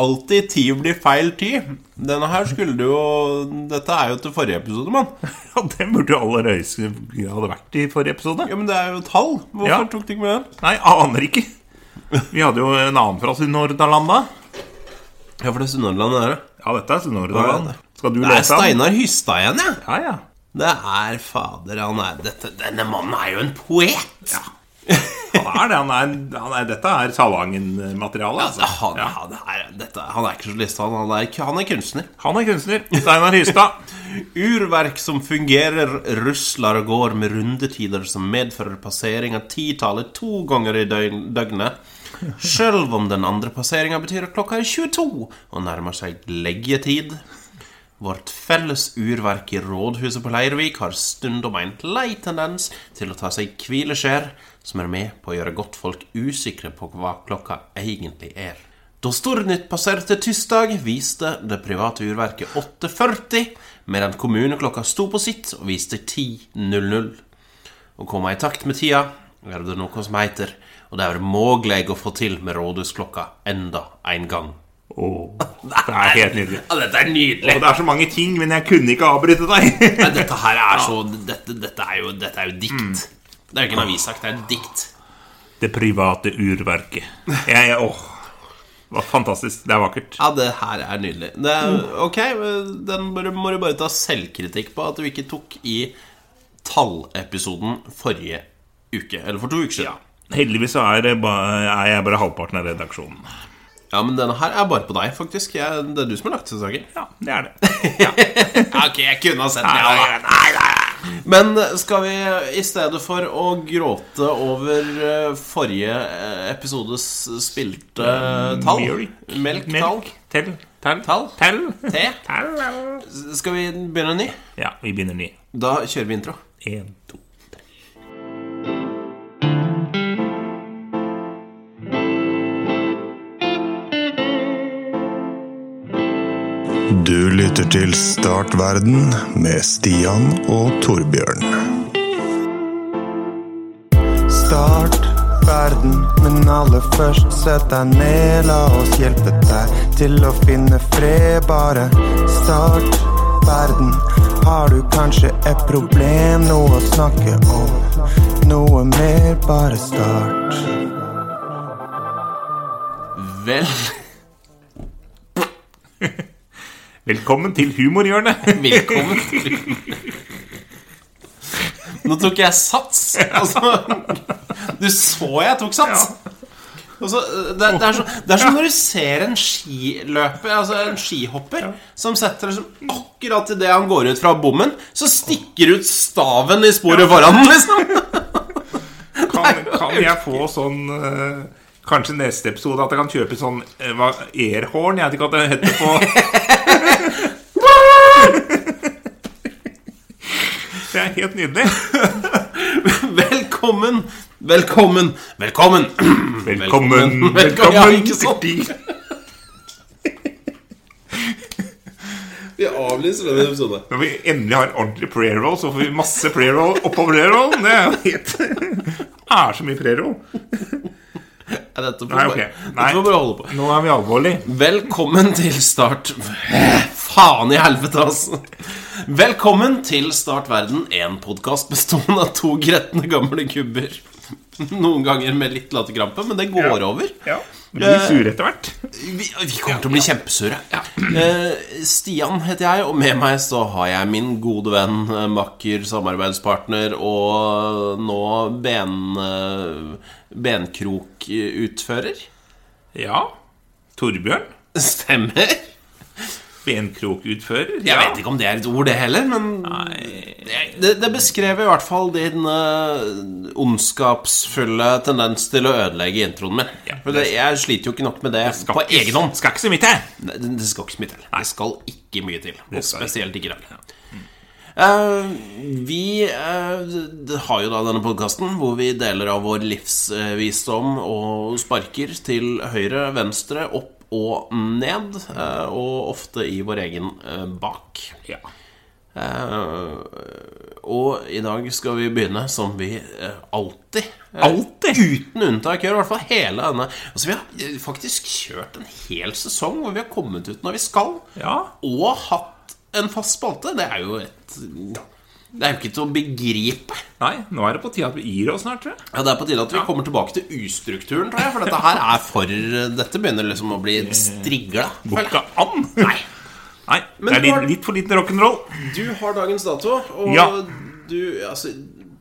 Alltid ti blir feil ti. Denne her skulle du jo Dette er jo til forrige episode, mann. Ja, det burde jo aller høyeste grad vært i forrige episode. Ja, men det er jo tall. Hvorfor Ja. tok du ikke med den? Nei, aner ikke. Vi hadde jo en annen fra Sunnhordalanda. Ja, for det er Sunnhordland, det er det. Ja, dette er Ja, Sunnhordland. det. Skal du Det er lese den? Steinar Hystad igjen, jeg. Ja, ja. Det er fader, han er dette, Denne mannen er jo en poet! Ja, Han er det. Han er, han er, dette er Salangen-materiale. Altså. han, han, er, dette, han er ikke journalist, han, han, er, han er kunstner. Han er kunstner. Steinar Hystad. Urverk som fungerer, rusler og går med rundetider som medfører passering av titallet to ganger i døgn, døgnet. Sjøl om den andre passeringa betyr at klokka er 22 og nærmer seg leggetid. Vårt felles urverk i rådhuset på Leirvik har stundom en lei tendens til å ta seg hvileskjær, som er med på å gjøre godtfolk usikre på hva klokka egentlig er. Da Stornytt passerte tirsdag, viste det private urverket 8.40, medan kommuneklokka sto på sitt og viste 10.00. Å komme i takt med tida er det noe som heter, og det er mogleg å få til med rådhusklokka enda en gang. Åh, det er helt nydelig. Ja, dette er nydelig! Og det er så mange ting, men jeg kunne ikke avbryte deg. Nei, dette her er så Dette, dette, er, jo, dette er jo dikt. Det er jo ikke en avissak, det er et dikt. Det private urverket. Jeg, jeg, åh, det var fantastisk. Det er vakkert. Ja, det her er nydelig. Det er, ok, den må du, må du bare ta selvkritikk på at du ikke tok i tallepisoden forrige uke. Eller for to uker siden. Heldigvis så er, det ba- er jeg bare halvparten av redaksjonen. Ja, men denne her er bare på deg, faktisk. Jeg, det er du som har lagt til saken. Ja, det er det. Ja, ok, jeg kunne ha sett den, Nei, ja, da. nei, nei. Men skal vi i stedet for å gråte over eh, forrige eh, episodes spilte eh, tall Mjølk. Melktall. Tell. Tell. Tall. Tell. Te. Tell. Skal vi begynne ny? Ja, vi begynner ny. Da kjører vi intro. En, to. Du lytter til Startverden med Stian og Torbjørn. Start verden, men aller først sett deg ned. La oss hjelpe deg til å finne fred. Bare start verden. Har du kanskje et problem, noe å snakke om? Noe mer, bare start. Vel, Velkommen til humorhjørnet. velkommen til Nå tok jeg sats. Altså, du så jeg tok sats. Og så, det, det, er så, det er som når du ser en skiløper, altså en skihopper, som setter liksom akkurat idet han går ut fra bommen, så stikker ut staven i sporet foran, liksom. Kan, kan jeg få sånn eh, Kanskje neste episode at jeg kan kjøpe sånn eh, hva, airhorn? Jeg vet ikke hva det heter på Det er helt nydelig. Velkommen, velkommen, velkommen. Velkommen. Velkommen. Ja, ikke sånn. sant? til- Vi avlyser denne episoden. Når vi endelig har ordentlig pre-roll, så får vi masse pre-roll oppå pre-roll. Det er jo helt Det er så mye pre-roll. Ja, dette får Nei, vi ok. bare- Nei. dette får vi bare holde på. Nå er vi alvorlige. Velkommen til start Faen i helvete, altså! Velkommen til Start verden, en podkast bestående av to gretne gamle gubber. Noen ganger med litt latterkrampe, men det går Ja. over. Ja. Vi blir Eh, sure etter hvert. Vi, vi kommer til å bli kjempesure. Eh, Stian heter jeg, og med meg så har jeg min gode venn, eh, makker, samarbeidspartner og nå ben, eh, benkrokutfører. Ja. Torbjørn. Stemmer. Benkrokutfører. Jeg vet ikke om det er et ord, det heller, men det, det beskrev i hvert fall din eh, ondskapsfulle tendens til å ødelegge introen min. Ja. For det, jeg sliter jo ikke nok med det, på egen hånd. Skal ikke så mye til. Nei, Det, det skal ikke så mye til. Det skal ikke mye til. Og skal spesielt ikke i dag. Eh, vi eh, d- har jo da denne podkasten hvor vi deler av vår livsvisdom og sparker til høyre, venstre, opp og ned, eh, og ofte i vår egen eh, bak. Ja. Eh, og i dag skal vi begynne som vi eh, alltid eh, Alltid? Uten unntak gjør i hvert fall hele denne Altså Vi har eh, faktisk kjørt en hel sesong hvor vi har kommet ut når vi skal, Ja. og hatt en fast spalte. Det er jo et Det er jo ikke til å begripe. Nei, nå er det på tide at vi gir oss snart, tror jeg. Ja, Det er på tide at vi kommer tilbake til ustrukturen, tror jeg. For dette her er for Dette begynner liksom å bli strigla. Går ikke an! Nei. Nei, Men det er du har- litt, litt for liten rock'n'roll. Du har dagens dato, og Ja. du Altså,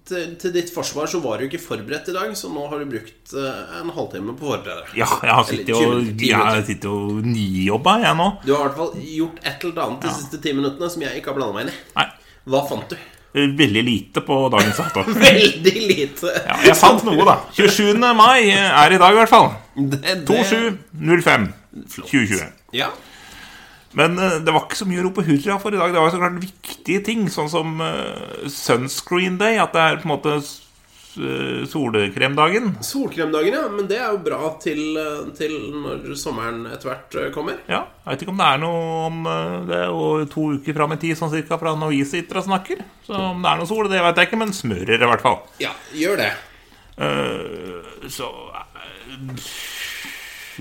til, til ditt forsvar så var du ikke forberedt i dag, så nå har du brukt eh, en halvtime på å forberede deg. Ja, jeg har sittet Eller og, 20, 10 jeg minutter. sitter og nijobba, jeg nå. Du har i hvert fall gjort et eller annet de siste ti minuttene som jeg ikke har blanda meg inn i. Nei, Hva fant du? veldig lite på dagens dato. Veldig lite. Ja, jeg fant noe, da. 27. mai er i dag, i hvert fall. Det- det- 2705 2020. Ja. Men eh, det var ikke så mye å rope hurra for i dag. Det var jo så klart viktige ting, sånn som eh, Sunscreen Day. At det er på en måte s- eh, solekremdagen. Solkremdagen, ja. Men det er jo bra til, eh, til når sommeren etter hvert eh, kommer. Ja, jeg vet ikke om det er noe om eh, Det er jo to uker fram i tid, sånn cirka, fra når vi sitter og snakker. Så om det er noe sol, det vet jeg ikke, men smører i hvert fall. Ja, gjør det. Eh, så uh,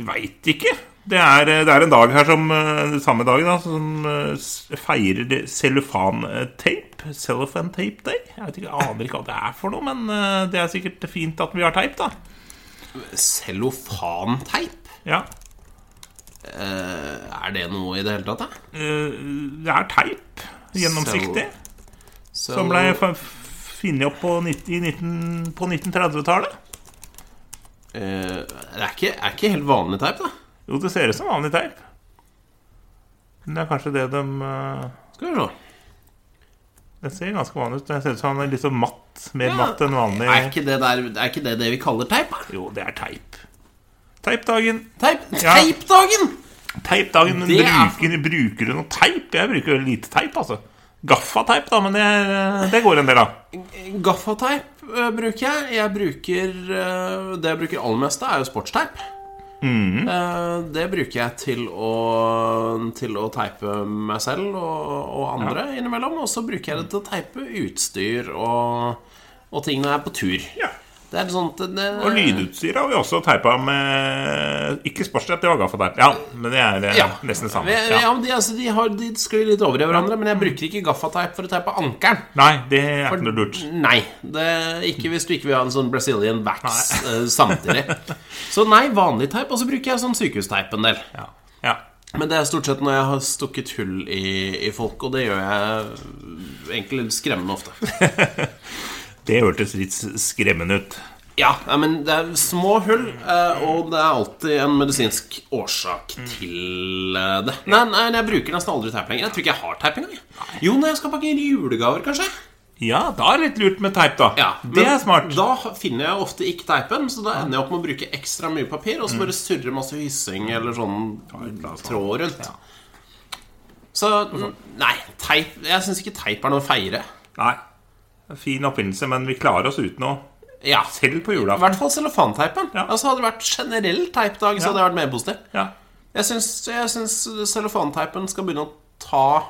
Veit ikke. Det er, eh, det er en dag her som eh, Samme dag da som eh, s- feirer det cellofantape. Cellofantape Day. Jeg vet ikke, jeg aner ikke hva det er for noe, men eh, det er sikkert fint at vi har teip, da. Cellofanteip? Ja, Eh, er det noe i det hele tatt, da? eh, Det er teip. Gjennomsiktig. Som ble Cello- f- f- funnet opp på, nitt- i 19, på 1930-tallet. Eh, det er ikke, er ikke helt vanlig teip, da. Jo, det ser ut som vanlig teip. Men det er kanskje det de eh, Skal vi se. Det ser ganske vanlig ut. Det ser ut som han er litt så matt. Mer Ja. matt enn vanlig. Er ikke det, der, er ikke det det vi kaller teip? da? Jo, det er teip. Teipdagen. Teip, Ja. Teipdagen! Teipdagen. Men Det er- bruker, bruker du noe teip? Jeg bruker veldig lite teip, altså. Gaffateip, da, men det, er- det går en del av. Gaffateip eh, bruker jeg. Jeg bruker eh, Det jeg bruker aller mest, er jo sportsteip. Mm. Eh, det bruker jeg til å, til å teipe meg selv og, og andre innimellom. Og så bruker jeg det til å teipe utstyr og, og ting når jeg er på tur. Ja. Det er sånn at det, Og lydutstyr har vi også teipa med Ikke sportsteip, det var gaffateip. Ja, men det er eh, Ja. nesten Men det samme. jeg- Ja. ja, men de, altså, de, har, de sklir litt over i hverandre, men jeg bruker ikke gaffateip for å teipe ankelen. Nei, det er ikke noe lurt. Nei. Det, ikke hvis du ikke vil ha en sånn Brazilian wax eh, samtidig. Så nei, vanlig teip. Og så bruker jeg sånn sykehusteip en del. Ja. ja. Men det er stort sett når jeg har stukket hull i, i folk, og det gjør jeg egentlig litt skremmende ofte. Det hørtes litt skremmende ut. Ja, nei, men det er små hull, eh, og det er alltid en medisinsk årsak til eh, det. Nei, nei, jeg bruker nesten aldri teip lenger. Jeg tror ikke jeg har teip engang. jeg. Jo, når jeg skal pakke julegaver, kanskje. Ja, da er det litt lurt med teip, da. Ja, det men er smart. Da finner jeg ofte ikke teipen, så da ender jeg opp med å bruke ekstra mye papir, Mm. og så bare surre masse hyssing eller sånn tråd rundt. Så nei, teip Jeg syns ikke teip er noe å feire. Nei. Fin oppfinnelse, men vi klarer oss uten å Ja. Selv på I julaften. hvert fall cellofanteipen. Ja. Altså Hadde det vært generell teipdag, så hadde jeg vært mer positiv. Ja. Jeg syns, jeg syns cellofanteipen skal begynne å ta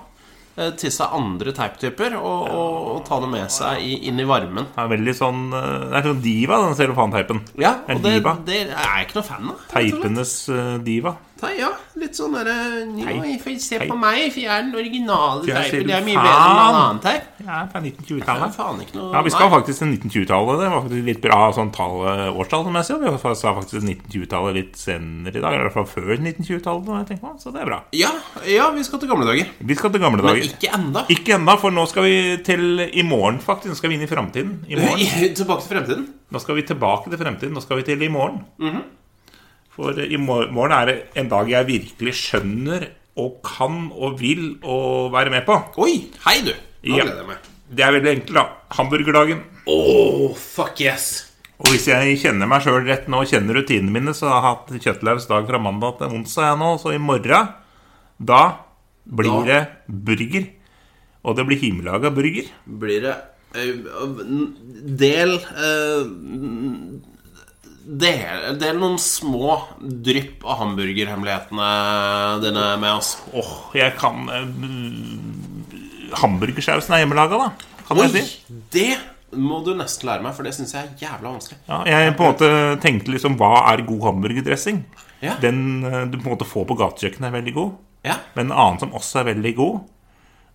eh, til seg andre teiptyper og, og, og ta det med seg i, inn i varmen. Det er veldig sånn eh, Det er sånn diva, den cellofanteipen. Ja, En og det, diva. det er jeg ikke noe fan av. rett og slett. Teipenes eh, diva. Nei, ja, litt sånn derre «Nå, for Se Hei. på meg, for jeg er den originale Jeg teipen. sier Det er mye faen. bedre enn all annen teip. Ja, Det fra er 1920-tallet. faen ikke noe Ja, Vi skal Nei. faktisk til 1920-tallet. Det var faktisk litt bra sånn tall eh, årstallmessig. og Vi sa faktisk 1920-tallet litt senere i dag. I hvert fall før 1920-tallet, når jeg tenker meg om, så det er bra. ja, ja, vi skal til gamle dager. Vi skal til gamle Men dager. ikke enda Ikke ennå, for nå skal vi til i morgen, faktisk. Nå skal vi inn i framtiden. I morgen. Tilbake til fremtiden. Nå skal vi tilbake til fremtiden. Nå skal vi til i morgen. Mhm. For eh, i mor- morgen er det en dag jeg virkelig skjønner og kan og vil å være med på. Oi, hei, du. Nå Ja. gleder jeg meg. Det er veldig enkelt, da. Hamburgerdagen. Oh, fuck yes. Og hvis jeg kjenner meg sjøl rett nå, kjenner rutinene mine, så har jeg hatt kjøttlaus dag fra mandag til onsdag jeg nå, så i morgen, da Da. blir det burger. Og det blir himmellaga burger. Blir det eh, Del eh, Del, del noen små drypp av hamburgerhemmelighetene dine med oss. Åh, jeg kan eh, hamburgersausen er hjemmelaga, da. Kan Oi, jeg si. det må du nesten lære meg, for det syns jeg er jævla vanskelig. Ja, jeg på en måte tenkte liksom Hva er god hamburgerdressing? Ja. Den eh, du på en måte får på gatekjøkkenet, er veldig god. Ja, Men en annen som også er veldig god,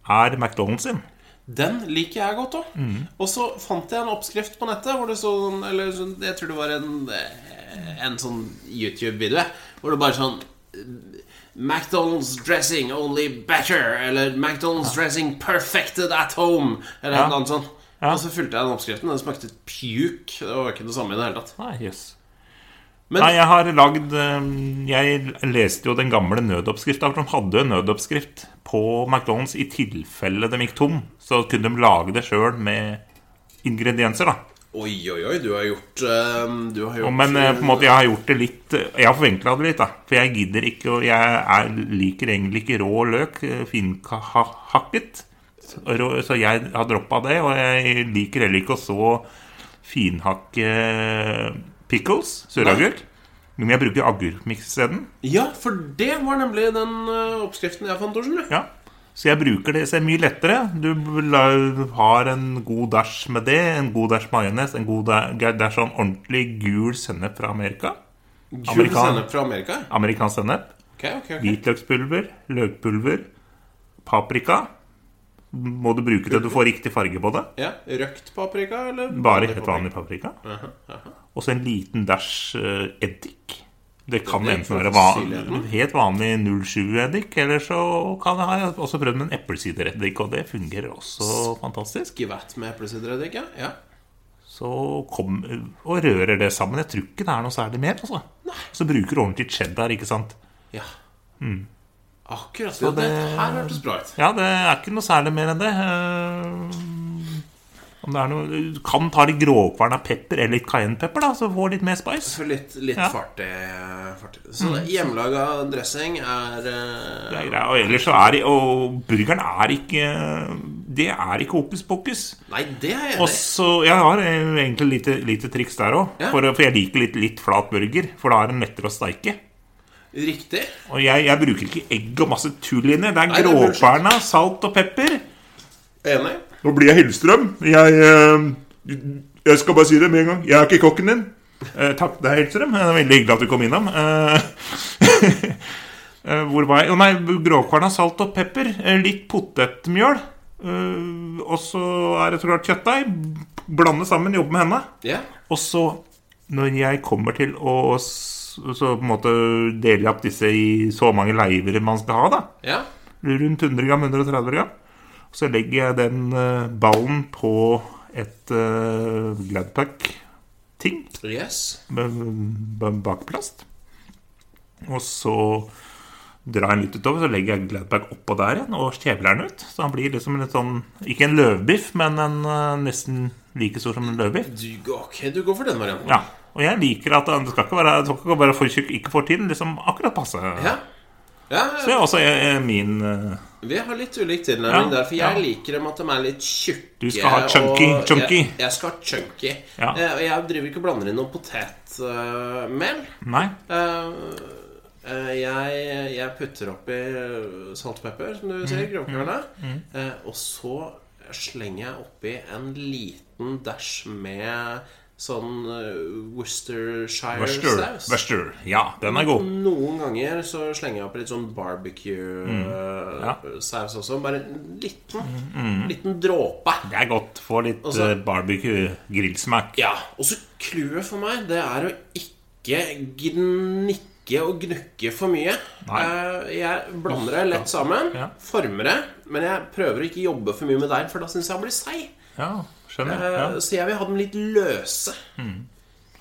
er McDonald's sin. Den liker jeg godt òg. Mm. Og så fant jeg en oppskrift på nettet hvor det så sånn Eller sånn, jeg tror det var en, eh, en sånn YouTube-video, jeg, hvor det bare sånn eh, McDonald's dressing only better. Eller McDonald's dressing perfected at home. Eller Ja. noe annet sånt. Ja. Og så fulgte jeg den oppskriften. Den smakte pjuk. Det var ikke det samme i det hele tatt. Nei, jøss. Ah, Men- Nei, jeg har lagd eh, Jeg leste jo den gamle nødoppskrifta, for de hadde jo en nødoppskrift på McDonald's i tilfelle de gikk tom. Så kunne de lage det sjøl med ingredienser, da. Oi, oi, oi, du har gjort eh, Du har gjort Og, men eh, på en måte, jeg har gjort det litt eh, Jeg har forenkla det litt, da. For jeg gidder ikke å Jeg er, liker egentlig ikke rå løk. eh, Finkahakket. Så, rå- så jeg har droppa det. Og jeg liker heller ikke å så finhakke eh, pickles. Søragurk. Men jeg bruker agurkmiks isteden. Ja, for det var nemlig den eh, oppskriften jeg fant, Torsen. Ja. Så jeg bruker det så det er mye lettere. Du la- har en god dæsj med det, en god dæsj majones, en god dæ- dæsj sånn ordentlig gul sennep fra Amerika. Gul Amerikan- sennep fra Amerika. Amerikansk sennep. Ok, ok, ok Hvitløkspulver, løkpulver, paprika. Må du bruke det du får riktig farge på det? Ja, Røkt paprika, eller? Bare helt vanlig paprika. Og så en liten dæsj eh, eddik. Det kan Eddik enten for være syrligheten. van, helt vanlig 07-eddik, eller så kan jeg ha jeg har også prøvd med en eplesidereddik, og det fungerer også fantastisk. Skivett med eplesidereddik, ja. ja. Så kom eh, og rører det sammen. Jeg tror ikke det er noe særlig mer, altså. Så bruker du ordentlig cheddar, ikke sant. ja. Mm. Akkurat. Ja, det... det- her hørtes bra ut. Ja, det er ikke noe særlig mer enn det. Eh, Om det er noe Du kan ta litt gråkvern av pepper eller litt cayennepepper, da, så får du litt mer spice. Så litt, litt Ja. Mm. fart, i, fart i. Så hjemmelaga dressing er eh, Det er greit. Og ellers så er det Og burgeren er ikke Det er ikke hokus pokus. Nei, det er jeg Og enig i. så Jeg har eh, egentlig lite, lite triks der òg. Ja. For, for jeg liker litt, litt flat burger, for da er den lettere å steike. Riktig. Og jeg, jeg bruker ikke egg og masse tull inni. Det er Nei, det er bullshit. gråkverna, salt og pepper. Enig. Nå blir jeg Hellstrøm. Jeg, eh, jeg skal bare si det med en gang. Jeg er ikke kokken din. Eh, takk, det er Hellstrøm. Det er veldig hyggelig at du kom innom. Eh, eh, hvor var jeg? Å nei, gråkvarna, salt og pepper. eh, litt potetmjøl. eh, og så er det så klart kjøttdeig. Blande sammen, jobbe med henne. Ja. Og så, når jeg kommer til å s- så på en måte dele opp disse i så mange leiver man skal ha, da ja. rundt 100 gram, 130 gram. Så legger jeg den eh, ballen på et uh, Gladpack-ting Yes. med- med bakplast. Og så drar jeg den litt utover, så legger jeg Gladpack oppå der igjen og kjevler den ut. Så han blir liksom en litt sånn Ikke en løvbiff, men en eh, nesten like stor som en løvbiff. Du, går- ok, du går for den varianten. Ja. Og jeg liker at den skal ikke være, det skal ikke være for tjukk, ikke for tynn. Liksom akkurat passe. Ja. ja. Det er også eh, min eh, Vi har litt ulik tilnærming Ja, der, for jeg ja. liker dem at de er litt tjukke. Du skal ha chunky, og chunky. Jeg, jeg skal ha chunky. Ja. Eh, Og jeg driver ikke og blander inn noe potetmel. Nei. Eh, eh, jeg, jeg putter oppi eh, salt og pepper, som Mm, du sier, grovkverne. Eh, og så slenger jeg oppi en liten dæsj med sånn eh, Wester. Worcestershire-saus. Wester. Ja, den er god. Mm. Noen ganger så slenger jeg opp litt sånn Mm. barbecue-saus også. Bare en liten, liten dråpe. Det er godt. Få litt Og så- eh, barbecue grillsmak. Ja, og så clouet for meg, det er å ikke gnikke og gnukke for mye. Nei. Eh, Jeg blander det lett sammen, Ja. former det, men jeg prøver å ikke jobbe for mye med deg, for da syns jeg han blir seig. Ja, skjønner. Eh, Ja. Mm. Så jeg vil ha dem litt løse.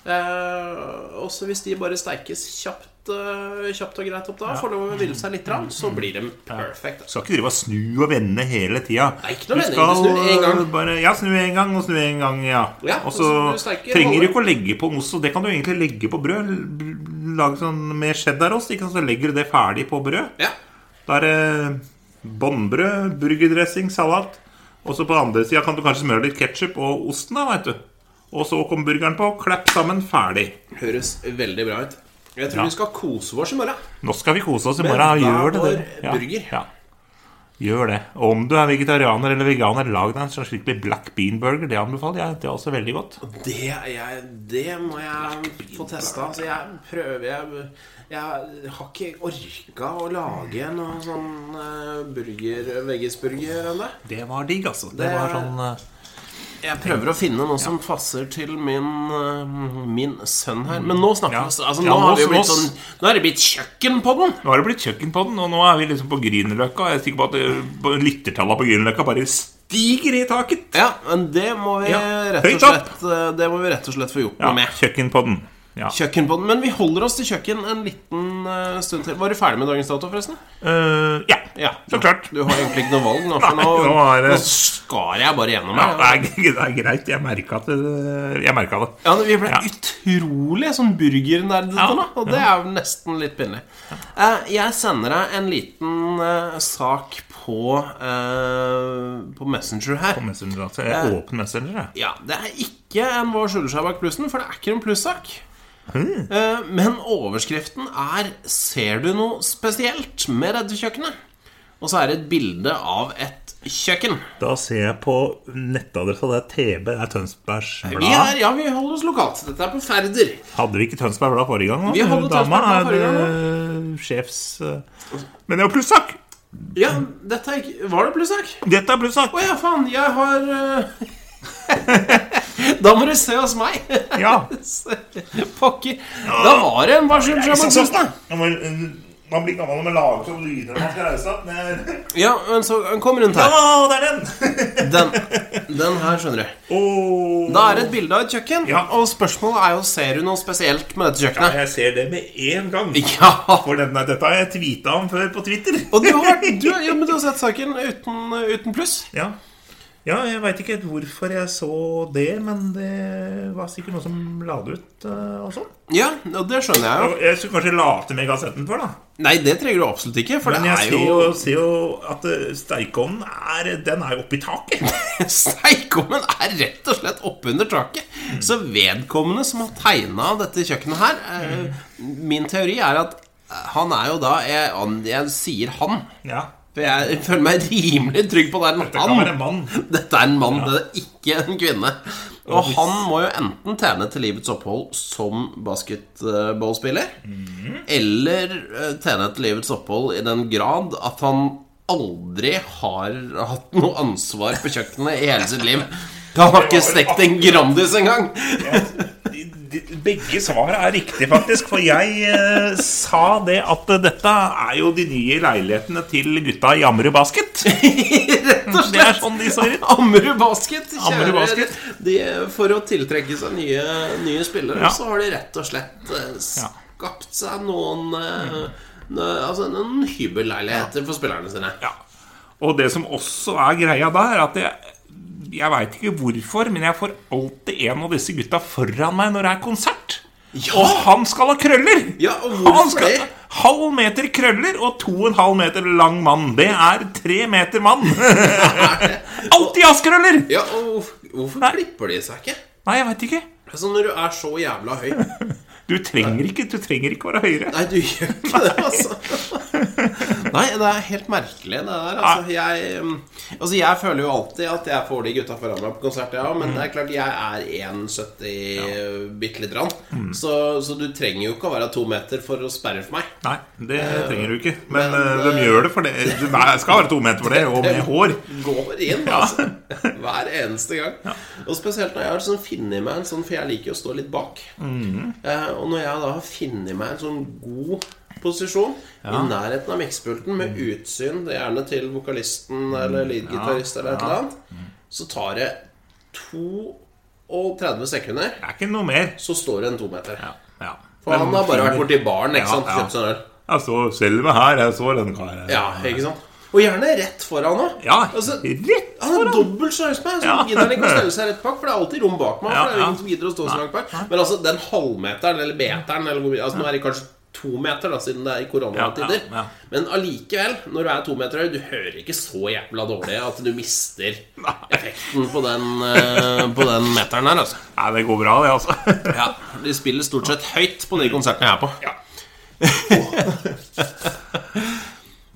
Eh, og så hvis de bare steikes kjapt, eh, kjapt og greit opp da, får lov å hvile seg litt, rann, Mm. så blir de perfekt. altså. Du skal ikke drive og snu og vende hele tida. Nei, ikke noe vending, du snur en gang. Bare, ja, snu en gang og snu en gang, ja. Ja, og og så så du steker trenger du holde. ikke å legge på ost, og det kan du egentlig legge på brød. L- Lage sånn med cheddarost, ikke sant? så legger du det ferdig på brød. Ja. Da er det bånnbrød, burgerdressing, salat. Og så på den andre sida kan du kanskje smøre litt ketsjup og osten, da, veit du. Og så kom burgeren på. Klapp sammen, ferdig. Høres veldig bra ut. Jeg tror Ja. vi skal kose oss i morgen. Nå skal vi kose oss i morgen. hver Gjør det, vår dere. Ja, burger. Ja. Gjør det. Og om du er vegetarianer eller veganer, lag deg en sånn skikkelig black bean burger. Det anbefaler jeg. Det er også veldig godt. Det, jeg, det må jeg få testa. Altså, jeg prøver Jeg, jeg har ikke orka å lage noe sånn eh, burger, veggisburger ennå. Det var digg, altså. Det, Det- var sånn eh, Jeg prøver å finne noe som passer til min, eh, min sønn her. Men nå snakker Ja. vi altså, Ja, nå, nå- har vi jo nå- blitt sånn, nå er det blitt kjøkken på den! Nå har det blitt kjøkken på den, og nå er vi liksom på Grünerløkka. og Jeg er sikker på at eh, på- lyttertallene på Grünerløkka bare stiger i taket. Ja, men det må vi, Ja. rett, og Høyt opp! slett, eh, det må vi rett og slett få gjort Ja, noe med. kjøkken på den. Ja. Kjøkken på den, Men vi holder oss til kjøkken en liten eh, stund til. Var du ferdig med dagens dato, forresten? Eh, ja. Ja, så klart. Du har egentlig ikke noe valg nå, for Nei, nå, nå, nå er det- skar jeg bare gjennom her. Ja, det, er, g- det er greit. Jeg merka det. Jeg merket det. Ja, vi ble Ja. utrolig sånn burgernerdete Ja. nå, og det er jo nesten litt pinlig. Eh, jeg sender deg en liten eh, sak på, eh, på Messenger her. På Messenger, altså. Jeg er åpen messenger, jeg. Ja, det er ikke en Hva skjuler seg bak plussen, for det er ikke en plussak. Mm. Eh, Men overskriften er 'Ser du noe spesielt med dette kjøkkenet?' Og så er det et bilde av et kjøkken. Da ser jeg på nettadressa. Det er TB. Det er Tønsbergs Vi er, ja, vi holder oss lokalt. Dette er på Færder. Hadde vi ikke Tønsberg Blad forrige gang? da? Vi hadde Dama Tønsberg Blad forrige er, eh, sjefs... eh, Men det er jo plussak! Ja, dette er ikke Var det plussak? Dette er plussak! Å ja, faen, jeg har eh, Da må du se hos meg! Ja. Pokker. Da var det en Hva skjuler seg bak plussen, da. eh, Man blir gammel med lager som lyder når man skal reise. Ja, men så kom rundt her. Å, det er den! Den, den her, skjønner du. Åh. Da er det et bilde av et kjøkken, Ja. og spørsmålet er jo Ser du noe spesielt med dette kjøkkenet. Jeg ser det med en gang. Ja, For denne, dette har jeg tweeta om før på Twitter. og du har, du, ja, men du har sett saken uten, uten pluss. Ja, ja jeg veit ikke helt hvorfor jeg så det, men det var sikkert noen som la det ut. eh, og sånn. Ja, og det skjønner jeg jo. Jeg skulle kanskje late med Gazetten før, da. Nei, det trenger du absolutt ikke, for Men det jeg er ser jo jo, ser jo at eh, steikeovnen er, den er jo oppi taket. Steikommen er rett og slett oppunder taket. Så vedkommende som har tegna dette kjøkkenet her eh, Min teori er at han er jo da Jeg, han- jeg sier han. Ja, For jeg føler meg rimelig trygg på at det er en Det kan han. være en mann. Dette er en mann, det er ikke en kvinne. Og han må jo enten tjene til livets opphold som basketballspiller, Mhm. eller eh, tjene til livets opphold i den grad at han aldri har hatt noe ansvar på kjøkkenet i hele sitt liv. Han har ikke stekt en Grandis engang! De, de, begge svarene er riktige, faktisk. For jeg eh, sa det at eh, dette er jo de nye leilighetene til gutta i Ammerud Basket. Rett og Det er slett! sånn de ser ut. Ammerud Basket, kjære Ammerud Basket. de, For å tiltrekke seg nye, nye spillere, Ja. så har de rett og slett eh, skapt seg noen eh, nø- Altså noen hybelleiligheter for spillerne sine. Ja. Og det som også er greia der, at jeg, jeg veit ikke hvorfor, men jeg får alltid en av disse gutta foran meg når det er konsert. Og han skal ha krøller! Ja, og hvorfor han skal det? Halv meter krøller og to og en halv meter lang mann. Det er tre meter mann! Alltid jazzkrøller! Ja, og hvorf- hvorfor Nei. klipper de seg ikke? Nei, jeg veit ikke. Altså Når du er så jævla høy. Du trenger ikke du trenger ikke være høyere. Nei, du gjør ikke det, altså. Nei, det er helt merkelig, det der. Altså, jeg, um, altså, jeg føler jo alltid at jeg får de gutta foran meg på konsert, ja, men det er klart jeg er 1,70 bitte lite grann. Så, så du trenger jo ikke å være to meter for å sperre for meg. Nei, det trenger du ikke. Men, eh, de gjør det for det. Jeg skal være to meter for det, og med hår. Går inn, altså. Hver eneste gang. Og spesielt når jeg har sånn funnet meg en sånn, for jeg liker jo å stå litt bak. Mhm. Eh, og når jeg da har funnet meg en sånn god posisjon i nærheten av mikspulten, med Mm. utsyn det er gjerne til vokalisten eller lydgitarist eller et eller Mm. annet, så tar det 32 sekunder, Det er ikke noe mer. så står det en tometer. Ja, ja. For han har bare vært borti baren, Ja, ikke sant? ja. Kjøpt sånn øl. Jeg så selve her, jeg så denne karen. Ja, ikke sant? Og gjerne rett foran òg. Ja, Altså, rett Han er foran! dobbelt så høy som meg, så Ja. gidder han ikke å stelle seg rett bak. For det er alltid rom bak meg. Ja, for det er jo ja. ingen som gidder å stå så langt bak Men altså, den halvmeteren eller meteren eller hvor mye Altså, Nå er det kanskje to meter, da siden det er i koronatider. Ja, ja, ja. Men allikevel, når du er to meter høy, du hører ikke så jævla dårlig at du mister effekten på den, eh, på den meteren der, altså. Nei, det går bra, det, altså. Ja, De spiller stort sett høyt på de konsertene jeg er på.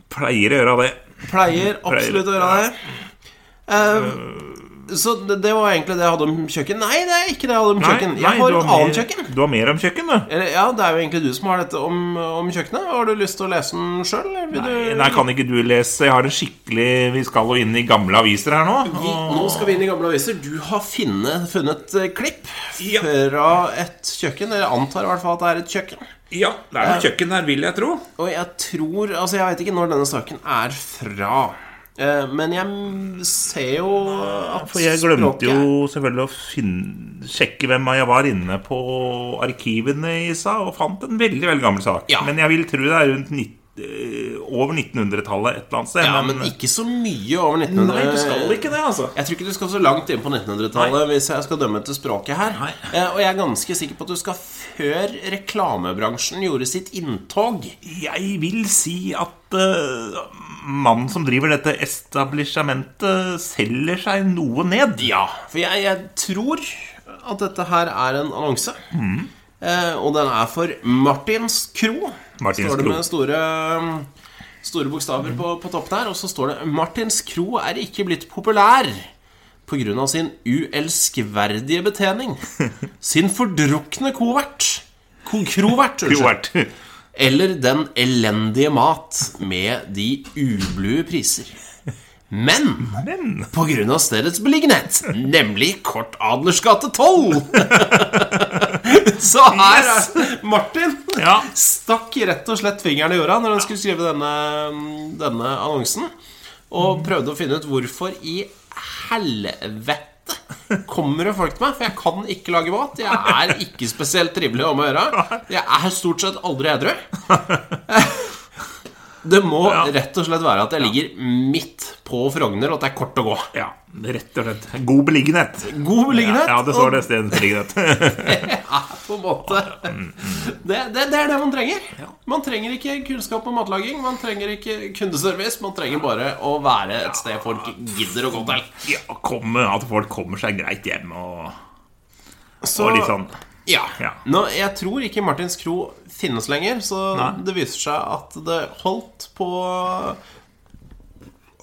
Pleier Øh. å gjøre det. Pleier absolutt å gjøre det. Eh, så det, det var egentlig det jeg hadde om kjøkken. Nei, det er ikke det jeg hadde om kjøkken. Jeg har du et annet mer- kjøkken. Du har mer om kjøkken, du. Eller, ja, det er jo egentlig du som har dette om, om kjøkkenet. Har du lyst til å lese den sjøl? Eh. Nei, nei, kan ikke du lese? Jeg har en skikkelig Vi skal jo inn i gamle aviser her nå. Vi, nå skal vi inn i gamle aviser. Du har finne, funnet eh, klipp Ja. fra et kjøkken. Eller jeg antar i hvert fall at det er et kjøkken. Ja, det er noe kjøkken her, vil jeg tro. Og jeg tror Altså, jeg veit ikke når denne saken er fra. Eh, Men jeg ser jo at For jeg glemte språket- jo selvfølgelig å finne, sjekke hvem jeg var inne på arkivene i stad, og fant en veldig veldig gammel sak. Ja. Men jeg vil tro det er rundt nitt- eh, over 1900-tallet et eller annet sted. Ja, men ikke så mye over 1900. Nei, du skal ikke det, altså. Jeg tror ikke du skal så langt inn på 1900-tallet hvis jeg skal dømme etter språket her. Nei. Eh, Og jeg er ganske sikker på at du skal før reklamebransjen gjorde sitt inntog. Jeg vil si at eh, mannen som driver dette establishementet, selger seg noe ned. Ja, for jeg, jeg tror at dette her er en annonse. Mm. Eh, og den er for Martins Kro. Martins står det Kro. med store, store bokstaver på, på toppen her. Og så står det Martins Kro er ikke blitt populær pga. sin uelskverdige betjening. Sin fordrukne kovert. Ko krovert, Jo, unnskyld. vært. Eller den elendige mat med de ublue priser. Men Men på grunn av stedets beliggenhet, nemlig Kort Adlersgate 12. Så her er Martin Ja. stakk rett og slett fingeren i jorda når han skulle skrive denne, denne annonsen, Mm. og prøvde å finne ut hvorfor i helvete kommer det folk til meg. For jeg kan ikke lage mat. Jeg er ikke spesielt trivelig om å gjøre. Jeg er stort sett aldri edru. Det må rett og slett være at jeg ligger midt på Frogner, og at det er kort å gå. Ja, rett og slett. God beliggenhet. God beliggenhet. Ja, det står det stedet beliggenhet. er på en måte det, det, det er det man trenger. Man trenger ikke kunnskap om matlaging, man trenger ikke kundeservice. Man trenger bare å være et sted folk gidder å gå til. Ja, komme, at folk kommer seg greit hjem og, Så, og litt sånn. ja. Ja. Nå, jeg tror ikke Martins Kro finnes lenger, så Nei. det viser seg at det holdt på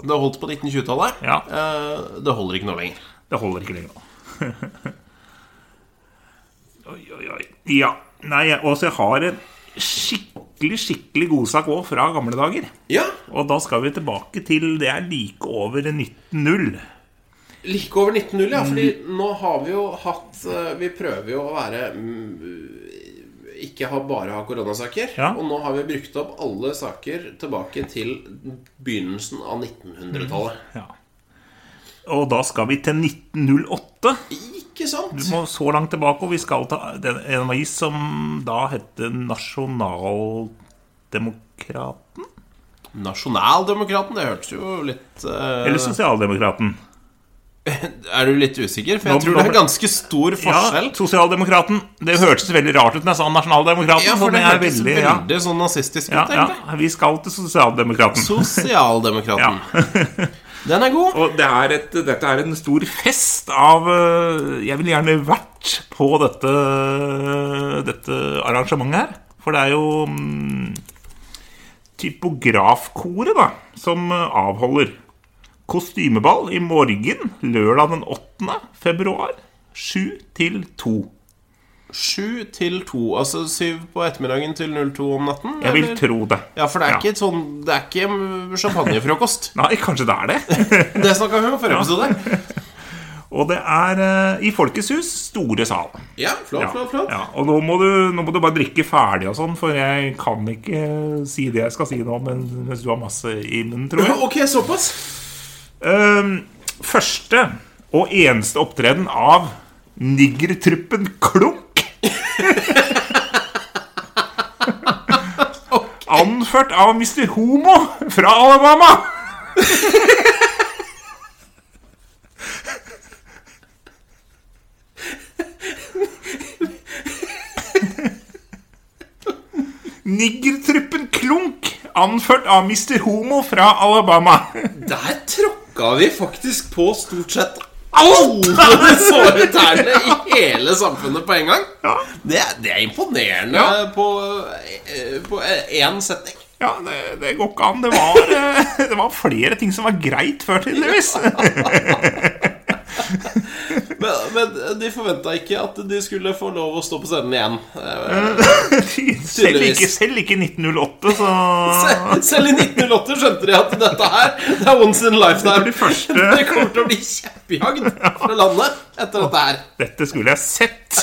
Det holdt på 1920-tallet. Ja. Eh, Det holder ikke nå lenger. Det holder ikke lenger nå. oi, oi, oi. Ja. Nei, jeg- og så jeg har en skikkelig, skikkelig godsak òg fra gamle dager. Ja, Og da skal vi tilbake til det er like over 19.0. Like over 1900, ja. Fordi Mm. nå har vi jo hatt eh, Vi prøver jo å være mm, Ikke ha bare ha koronasaker. Ja. Og nå har vi brukt opp alle saker tilbake til begynnelsen av 1900-tallet. Ja. Og da skal vi til 1908. Ikke sant? Vi må så langt tilbake, og vi skal ta den- en avis som da hette Nasjonaldemokraten? Nasjonaldemokraten, det hørtes jo litt eh, Eller Sosialdemokraten? Er du litt usikker? For jeg Nå- tror nå det er ble- ganske stor forskjell. Ja, Sosialdemokraten. Det hørtes veldig rart ut når jeg sa Nasjonaldemokraten. Ja, for så det er hørtes veldig, ja. sånn nazistisk ut, Ja, egentlig. ja, vi skal til Sosialdemokraten. Sosialdemokraten. Ja. Den er god. Og det er et, dette er en stor fest av eh, Jeg ville gjerne vært på dette, dette arrangementet her. For det er jo mm, typografkoret da, som eh, avholder kostymeball i morgen, lørdag den 8. februar, 7 til 2. Sju til to. Altså syv på ettermiddagen til 02 om natten? Jeg vil eller? tro det. Ja, for det er Ja. ikke sånn Det er ikke champagnefrokost. Nei, kanskje det er det. Det snakka vi om i forrige episode. Og det er eh, i Folkets hus, store sal. Ja, flott, Ja, flott, flott. Ja, og nå må, du, nå må du bare drikke ferdig og sånn, for jeg kan ikke eh, si det jeg skal si nå men, mens du har masse i munnen, tror jeg. Ok, såpass. Ehm, første og eneste opptreden av niggertruppen Klunk. Anført av Mr. Homo fra Alabama. Niggertruppen Klunk, anført av Mr. Homo fra Alabama. Der tråkka vi faktisk på stort sett alle de såre tærne i hele samfunnet på en gang. Ja. Det, det er imponerende Ja. på, eh, på én setning. Ja, det, det går ikke an. Det var eh, det var flere ting som var greit før, tydeligvis. Men, men de forventa ikke at de skulle få lov å stå på scenen igjen. Eh, Selv ikke, selv ikke 1908, så Ah. se- Selv i 1908 skjønte de at dette her Det er once in a lifetime. Det blir første. Det kommer til å bli kjeppjagd fra landet etter dette her. Dette skulle jeg sett!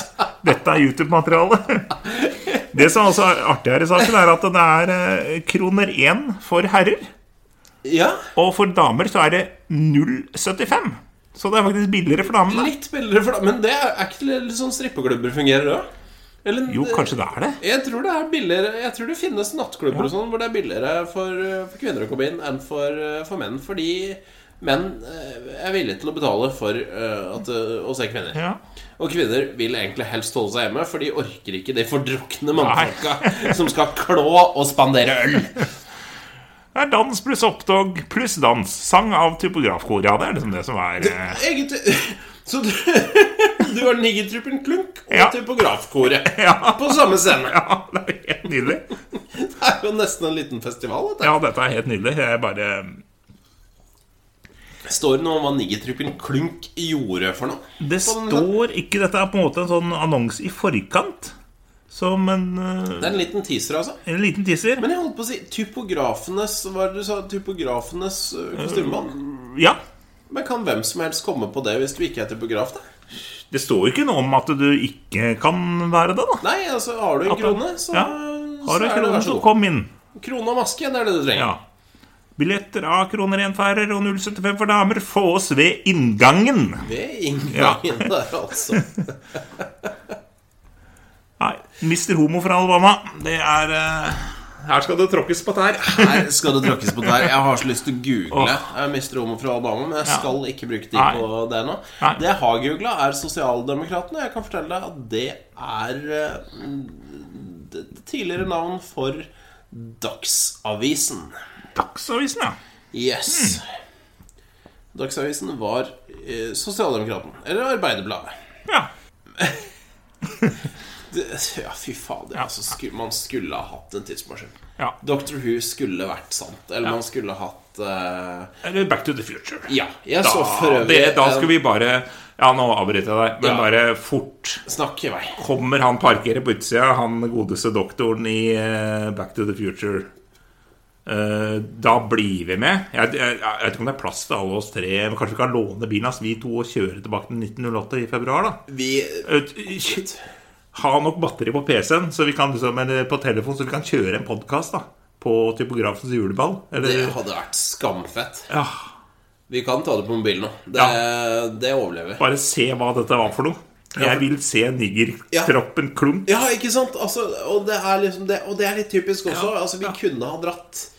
Dette er YouTube-materiale. Det som også er artig her i saken, er at det er eh, kroner én for herrer. Ja, Og for damer så er det 0,75. Så det er faktisk billigere for damene. litt billigere for Men det er er ikke det litt sånn strippeklubber fungerer òg? Jo, kanskje det er det. Jeg tror det er billigere Jeg tror det finnes nattklubber og sånn hvor det er billigere for, eh, for kvinner å komme inn enn for, eh, for menn, fordi menn eh, er villige til å betale for eh, at, eh, å se kvinner. Ja. Og kvinner vil egentlig helst holde seg hjemme, for de orker ikke de fordrukne mannfolka som skal klå og spandere øl. Det er dans pluss opptog pluss dans. Sang av typografkor. Ja, det er liksom det som er eh, Egentlig Så du, du har Nigertruppen Klunk og Ja. typografkoret Ja. på samme scene. Ja, det er helt nydelig. Det er jo nesten en liten festival. Dette. Ja, dette er helt nydelig. Jeg bare Står det noe om hva Nigertruppen Klunk gjorde for noe? Det står ikke Dette er på en måte en sånn annonse i forkant. Som en, eh, Det er en liten teaser, altså. en liten teaser. Men jeg holdt på å si typografenes Hva var det du sa? Typografenes øh, kostymemann? Ja. Men kan hvem som helst komme på det hvis du ikke er typograf, da? Det står jo ikke noe om at du ikke kan være det, da. Nei, altså, har du en krone, så, Ja. Har du så er det kroner, vær så så god. kom inn. Krone og maske, det er det du trenger. Ja. Billetter av kroner 1 for herrer og 0,75 for damer fås ved inngangen. Det er Ja. inngangen der, altså. Nei, Mr. Homo fra Alabama, det er eh, Her skal det tråkkes på tær. Her skal det tråkkes på der. Jeg har så lyst til å google Jeg mister homo fra Alabama, men jeg skal ikke bruke tid Nei. på det nå. Nei. Det jeg har googla, er Sosialdemokratene. Jeg kan fortelle deg at det er eh, mm, det- det tidligere navn for Dagsavisen. Dagsavisen, ja. Hmm. Yes. Dagsavisen var eh, Sosialdemokraten, eller Arbeiderbladet. ja. Det, ja, fy fader. Altså, sku, man skulle ha hatt en tidsmaskin. Ja. Doctor Who skulle vært sant. Eller man skulle hatt eh, Eller Back to the future. Ja. Jeg Da, så for øvrig det, da en- skal vi bare Ja, nå avbryter jeg deg, men Ja. bare fort. eh, Snakk i vei. Kommer han parkerer på utsida, han godeste doktoren i eh, Back to the Future? Eh, da blir vi med. Jeg, jeg, jeg vet ikke om det er plass til alle oss tre. Men kanskje vi kan låne bilen hans, vi to, og kjøre tilbake til 1908 i februar, da? Vi Ut- shit. Ha nok batteri på PC-en så vi kan, liksom, eller på telefonen, så vi kan kjøre en podkast på typografens juleball. Det Eller hadde vært skamfett. ja, Vi kan ta det på mobilen nå. Det, det overlever. bare se hva dette var for noe. Jeg vil se niggertroppen klump. Ja, ikke sant? Altså, og, det er liksom det, og det er litt typisk også. altså, vi kunne ha dratt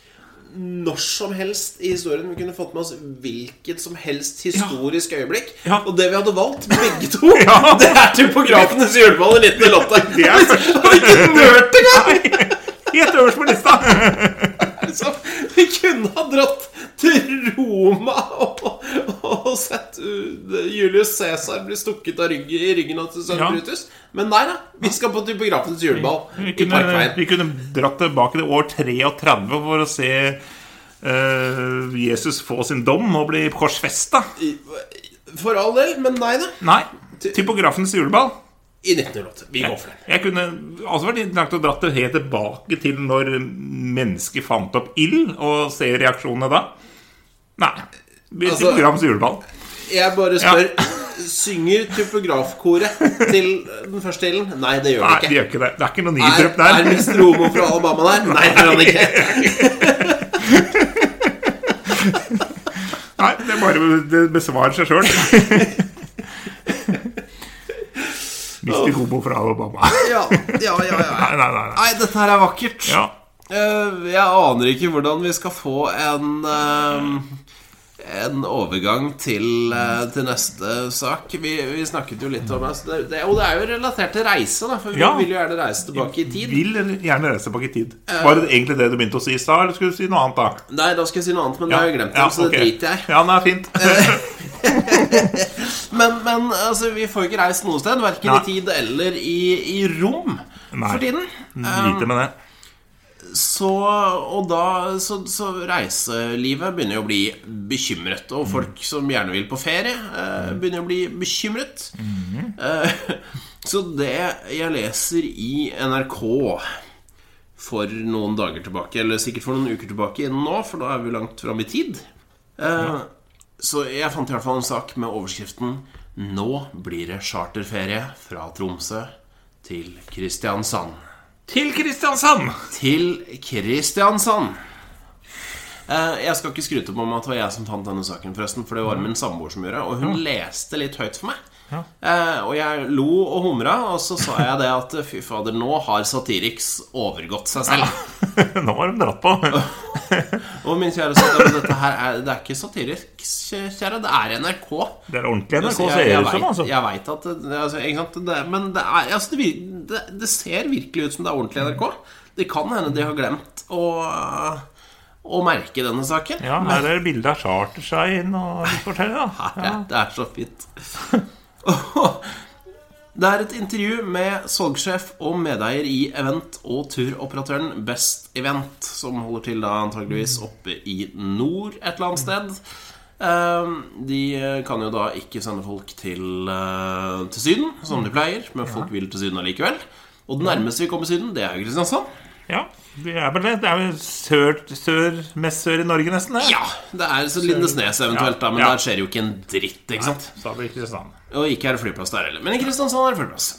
når som helst i historien. Vi kunne fått med oss hvilket som helst historisk øyeblikk. Ja. Og det vi hadde valgt, begge to, Ja. det er typografenes juleball i 1908. Det er første Og ikke nørt engang! Helt øverst på lista! Så vi kunne ha dratt til Roma og, og sett uh, Julius Cæsar bli stukket av ryggen, i ryggen av Susanne Ja. Brutus. Men nei da, vi skal på typografens juleball Vi i kunne, Parkveien. vi kunne dratt tilbake til år 33 for å se eh, Jesus få sin dom og bli korsfesta. For all del, men nei da. Nei. Typografens juleball. I 1908. Vi går for den. Jeg kunne altså vært interessant å dratt det helt tilbake til når mennesket fant opp ild, og se reaksjonene da. Nei. Vi- Altså- typografens juleball. Jeg bare spør Synger typografkoret til den første ilden? Nei, det gjør det Nei, de ikke. gjør ikke det. Det er ikke noe Er, nidrup er der. Mr. Homo fra Alabama der? Nei, det er han ikke. Nei, det bare det besvarer seg sjøl. Mister Homo fra Alabama. Ja, ja, ja, ja. Nei, nei, nei. nei. Nei, dette her er vakkert. Ja. Eh, jeg aner ikke hvordan vi skal få en eh, En overgang til, eh, til neste sak. Vi, vi snakket jo litt om altså, det, det. Og det er jo relatert til reise, da, for vi Ja. vil jo gjerne reise tilbake i tid. Vil gjerne reise tilbake i tid. Var det egentlig det du begynte å si i stad, eller skulle du si noe annet da? Nei, da skal jeg si noe annet, men det har jeg glemt. Ja, så det ok. driter jeg Eh, i. Ja, nei, fint. Men, men altså, vi får ikke reist noe sted, verken Nei. i tid eller i, i rom Nei. for tiden. Lite med det. Så, og da, så, så reiselivet begynner jo å bli bekymret. Og folk som gjerne vil på ferie, eh, begynner å bli bekymret. Eh, så det jeg leser i NRK for noen dager tilbake, eller sikkert for noen uker tilbake igjen nå, for da er vi jo langt fram i tid Eh, Så jeg fant i hvert fall en sak med overskriften 'Nå blir det charterferie fra Tromsø til Kristiansand'. Til Kristiansand! Til Kristiansand. Eh, Jeg skal ikke skryte på meg at det var jeg som fant denne saken, forresten. For det var min samboer som gjorde det, og hun leste litt høyt for meg. Eh, Og jeg lo og humra, og så sa jeg det at fy fader, nå har Satiriks overgått seg selv. Nå har de dratt på. Og min kjære sa at dette her er, det er ikke Satiriks, kjære. Det er NRK. Det er ordentlig NRK, Altså, ser jeg, det jeg, ut som. vet- altså jeg vet at det, altså, ikke sant? det Men det, er, altså, det, vir- det, det ser virkelig ut som det er ordentlig NRK. Det kan hende de har glemt å, å merke denne saken. Ja, her er det bilde av Chartershine og litt forskjellig, da. Ja, det er så fint. det er et intervju med salgssjef og medeier i event- og turoperatøren Best Event, som holder til da antageligvis oppe i nord et eller annet sted. Eh, De kan jo da ikke sende folk til, eh, til Syden, som de pleier, men folk vil til Syden allikevel. Og det nærmeste vi kommer Syden, det er jo Kristiansand. Ja, det er vel det. Det er vel sør, sør, mest sør i Norge, nesten. Det. Ja, Det er så Lindesnes eventuelt, da, men Ja. der skjer jo ikke en dritt. ikke sant? Så det blir Kristiansand. Og ikke er det flyplass der heller. Men i Kristiansand er det flyplass.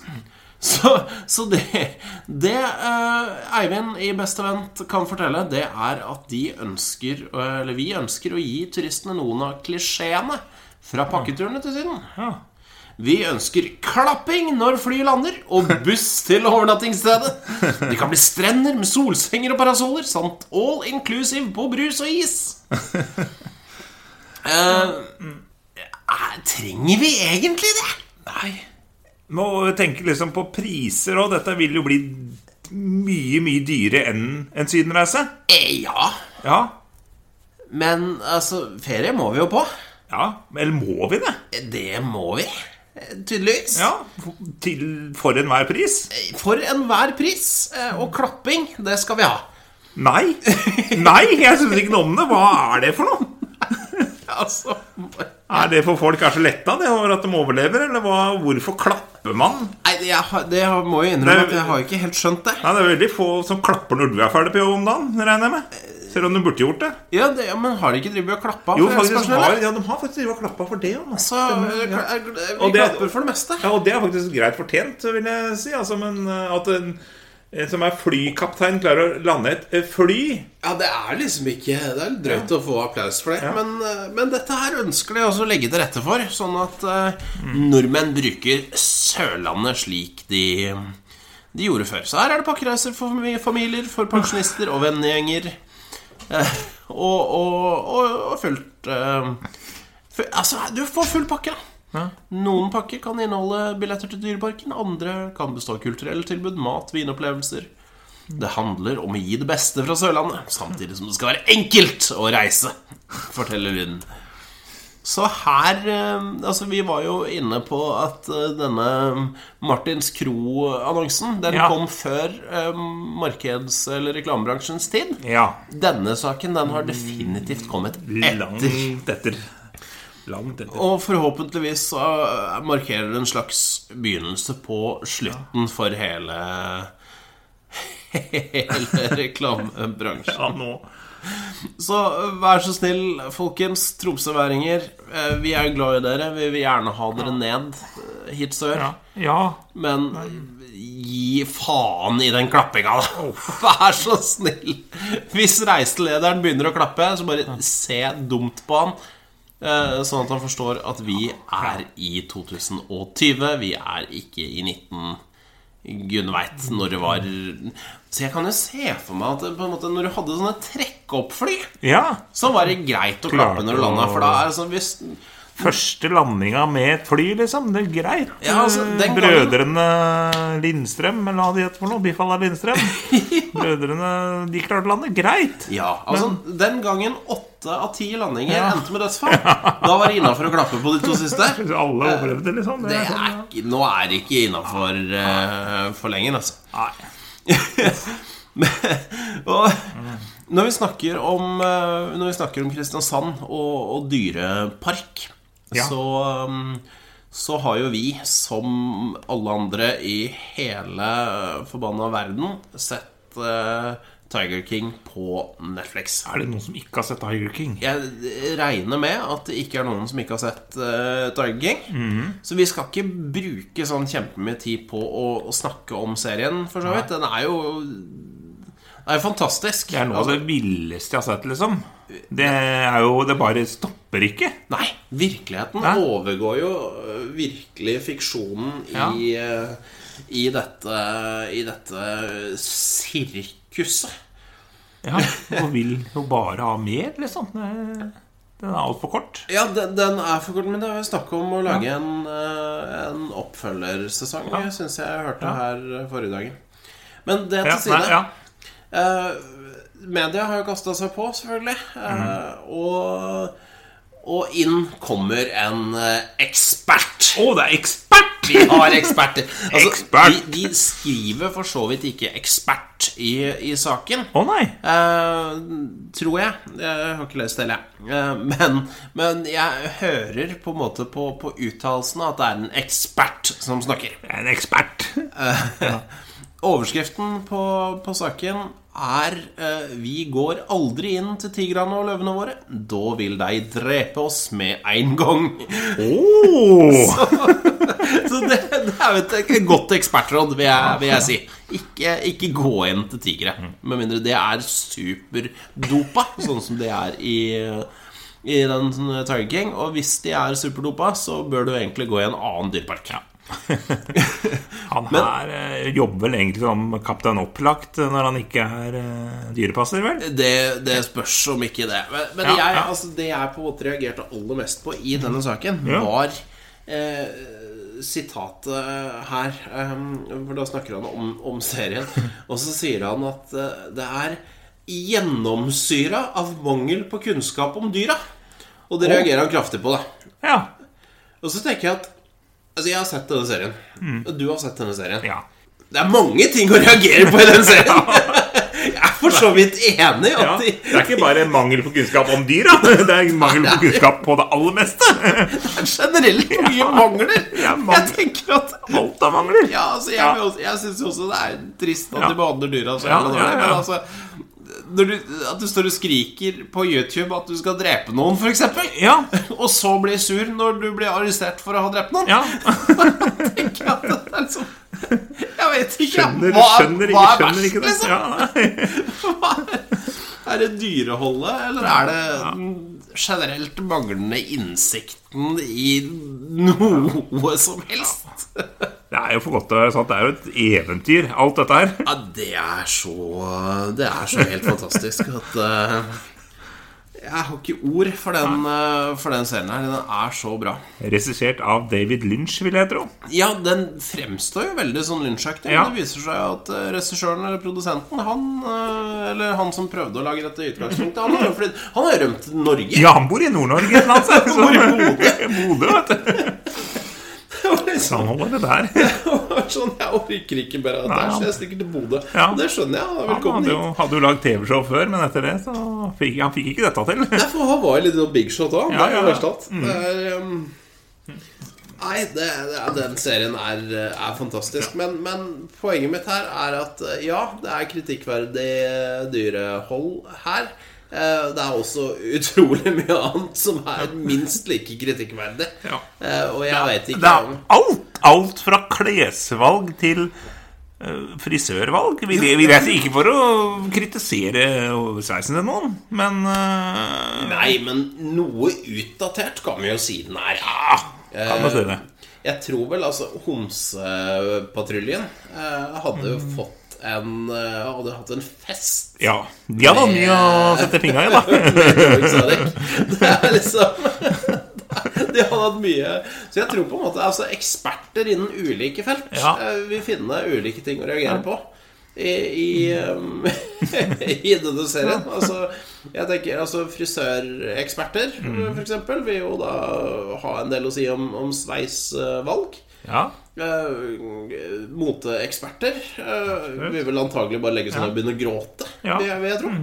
Så, så det, det eh, Eivind i Beste Vent kan fortelle, det er at de ønsker, eh, eller vi ønsker, å gi turistene noen av klisjeene fra pakketurene til Syden. Ja. Vi ønsker klapping når flyet lander, og buss til overnattingsstedet. Det kan bli strender med solsenger og parasoller, samt all inclusive på brus og is. Eh, er- Eh, trenger vi egentlig det? Nei. Må tenke liksom på priser òg. Dette vil jo bli mye, mye dyrere enn en sydenreise. Eh, ja. Ja. Men altså, ferie må vi jo på. ja. Eller må vi det? Det må vi. eh, Tydeligvis. Ja. Til for enhver pris? For enhver pris. eh, Og klapping, det skal vi ha. Nei. Nei, jeg syns ikke noe om det. Hva er det for noe? Altså Er det for folk er så letta det over at de overlever, eller hva, hvorfor klapper man? Nei, jeg, har- det har- må jeg innrømme at jeg har ikke helt skjønt det. Nei, Det er veldig få som klapper når du er ferdig på jobb om dagen, regner jeg med. Selv om du burde gjort det. Ja, det, ja, Men har de ikke drevet og klappa? Jo, for faktisk helsepersonell? har, ja, de har faktisk drevet og klappa for det. jo, Altså. Så eh, kla- eh, vi Og det- klapper for det meste. Ja, og det er faktisk greit fortjent, vil jeg si. Altså, men eh, at en en som er flykaptein, klarer å lande et eh, fly Ja, det er liksom ikke Det er litt drøyt å få applaus for det. Men, eh, men dette her ønsker de også å legge til rette for, sånn at eh, nordmenn bruker Sørlandet slik de de gjorde før. Så her er det pakkereiser for fami- familier, for pensjonister og vennegjenger. Eh, Og, og, og, og fullt eh, fu- Altså, du får full pakke, da. Noen pakker kan inneholde billetter til Dyreparken, andre kan bestå av kulturelle tilbud, mat, vinopplevelser. Det handler om å gi det beste fra Sørlandet, samtidig som det skal være enkelt å reise, forteller hun. Så her eh, Altså, vi var jo inne på at eh, denne Martins Kro-annonsen, den Ja. kom før eh, markeds- eller reklamebransjens tid. Ja. Denne saken, den har definitivt kommet Langt etter. etter. Langt etter. Og forhåpentligvis så eh, markerer det en slags begynnelse på slutten for hele Hele reklamebransjen. Ja, nå. Så øh, vær så snill, folkens tromsøværinger. øh, Vi er jo glad i dere. Vi vil gjerne ha dere ned øh, hit sør. Ja. ja. Men øh, gi faen i den klappinga, da! Vær så snill! Hvis reiselederen begynner å klappe, så bare se dumt på han. øh, Sånn at han forstår at vi er i 2020. Vi er ikke i 19... Gud veit når det var Mm. Så jeg kan jo se for meg at øh, på en måte, når du hadde sånne trekkoppfly ja. så var det greit å klappe når du landa, for da er det sånn hvis Første landinga med et fly, liksom. Det er greit. Ja, altså, den Brødrene Lindstrøm, eller hva de heter for noe. Bifalla Lindstrøm. Brødrene De klarte å lande greit. Ja, altså Den gangen åtte av ti landinger endte med dødsfall, da var det innafor å klappe på de to siste. Alle overlevde, liksom. Det er eh, ikke, nå er det ikke innafor for lenger, altså. Nei. og når vi snakker om eh, Når vi snakker om Kristiansand og, og dyrepark, Ja. så um, så har jo vi, som alle andre i hele forbanna verden, sett eh, Tiger King på Netflix. Er det noen som ikke har sett Tiger King? Jeg regner med at det ikke er noen som ikke har sett eh, Tiger King. Mhm. Så vi skal ikke bruke sånn kjempemye tid på å, å snakke om serien, for så vidt. Den er jo den er jo fantastisk. Altså, Det er noe av det villeste jeg har sett, liksom. Det er jo Det bare stopper ikke. Nei, virkeligheten Nei. overgår jo øh, virkelig fiksjonen Ja. i, øh, i, dette, i dette sirkuset. Ja, Og vil jo bare ha mer, liksom. Det- Den er altfor kort. Ja, den, den er for kort, men det er jo snakk om å lage en, øh, en oppfølgersesong, Ja. syns jeg jeg hørte Ja. her eh, forrige dagen. Men det Ja, til side. nei, ja. Eh, media har jo kasta seg på, selvfølgelig. Eh, Mhm. og, og inn kommer en eh, ekspert. Å, det er ekspert! Vi har eksperter. Altså, Ekspert. De, de skriver for så vidt ikke 'ekspert' i, i saken. Å nei! Eh, tror jeg. Jeg har ikke lest hele, jeg. Eh, men, men jeg hører på en måte på, på uttalelsene at det er en ekspert som snakker. Jeg er en ekspert. Overskriften på, på saken er eh, Vi går aldri inn til tigrene og løvene våre. Da vil de drepe oss med en gang. Oh, Så det, det er jo et, et godt ekspertråd, vil jeg, vil jeg si. Ikke, ikke gå inn til tigre. Med mindre det er superdopa, sånn som det er i i den sånne Tiger King. Og hvis de er superdopa, så bør du egentlig gå i en annen dyrepark. han her eh, jobber vel egentlig som kaptein Opplagt eh, når han ikke er eh, dyrepasser, vel? Det, det spørs om ikke det. Men, men Ja, jeg, ja. Altså, det jeg på en måte reagerte aller mest på i denne saken, Ja. var eh, sitatet her. eh, for da snakker han om, om serien, og så sier han at eh, det er gjennomsyra av mangel på kunnskap om dyra. Og det reagerer han kraftig på, da. Ja. Og så tenker jeg at Altså, jeg har sett denne serien. Og du har sett denne serien. Mm. ja. Det er mange ting å reagere på i den serien! Jeg er for så vidt enig. At Ja, de, det er ikke bare mangel på kunnskap om dyr, da. Det er mangel på kunnskap på det aller meste. generelt mye mangler. Ja, mangler. Jeg tenker at Alt av mangler. ja, altså, jeg, vil også- jeg syns jo også det er trist at Ja. de behandler dyra så jævla Ja, ja, dårlig, men ja. altså når du, At du står og skriker på YouTube at du skal drepe noen, f.eks., Ja. og så blir sur når du blir arrestert for å ha drept noen Ja. Tenker jeg at det er liksom Jeg vet ikke. jeg. Skjønner, hva, er- skjønner, hva ikke, er skjønner verst, ikke det. liksom? Ja, nei. Er det dyreholdet, eller er det den generelt manglende innsikten i noe som helst? Det er jo for godt til å være sant. Det er jo et eventyr, alt dette her. Ja, det er så Det er så helt fantastisk at eh, Jeg har ikke ord for den, eh, for den serien her. Den er så bra. Regissert av David Lynch, vil jeg tro. Ja, den fremstår jo veldig sånn lynsjaktig. Ja. Men det viser seg at eh, regissøren eller produsenten, han eh, Eller han som prøvde å lage dette i utgangspunktet, han har jo flytt- han har jo rømt til Norge. Ja, han bor i Nord-Norge et eller annet sted. Han bor i Bodø, vet du. Så han holder det der. sånn, Jeg orker ikke bare at det er Nei, så jeg han- stikker til Bodø. Ja. Det skjønner jeg. Han er Han velkommen hadde hit. jo, hadde jo lagd TV-show før, men etter det så fikk han fikk ikke dette til. Derfor han var jo litt sånn big shot òg. Ja, det er jo ja, Mm. ja. verst av alt. Det er, um, Nei, det, det, er- den serien er, er fantastisk. Men, men poenget mitt her er at eh, ja, det er kritikkverdig dyrehold her. Eh, Det er også utrolig mye annet som er minst like kritikkverdig. Ja. Eh, Og jeg vet Det ikke er om alt, alt fra klesvalg til eh, frisørvalg. Vil jeg, vil jeg si ikke for å kritisere sveisen til noen, men eh, Nei, men noe utdatert kan vi jo si den er. ah, Kan man si det. Jeg tror vel altså Homsepatruljen eh, hadde jo fått en eh, Hadde hatt en fest Ja. De hadde mye å sette fingra i, da. med Erik Sarek. Det er liksom De hadde hatt mye Så jeg tror på en måte altså eksperter innen ulike felt Ja. eh, vil finne ulike ting å reagere på. I, i, um, I denne serien. Altså, jeg tenker altså frisøreksperter, for eksempel, vil jo da ha en del å si om, om sveisvalg. Ja. eh, moteeksperter eh, vil vel antagelig bare legge seg ned og begynne å gråte. Ja. Mhm. Det vil jeg tro.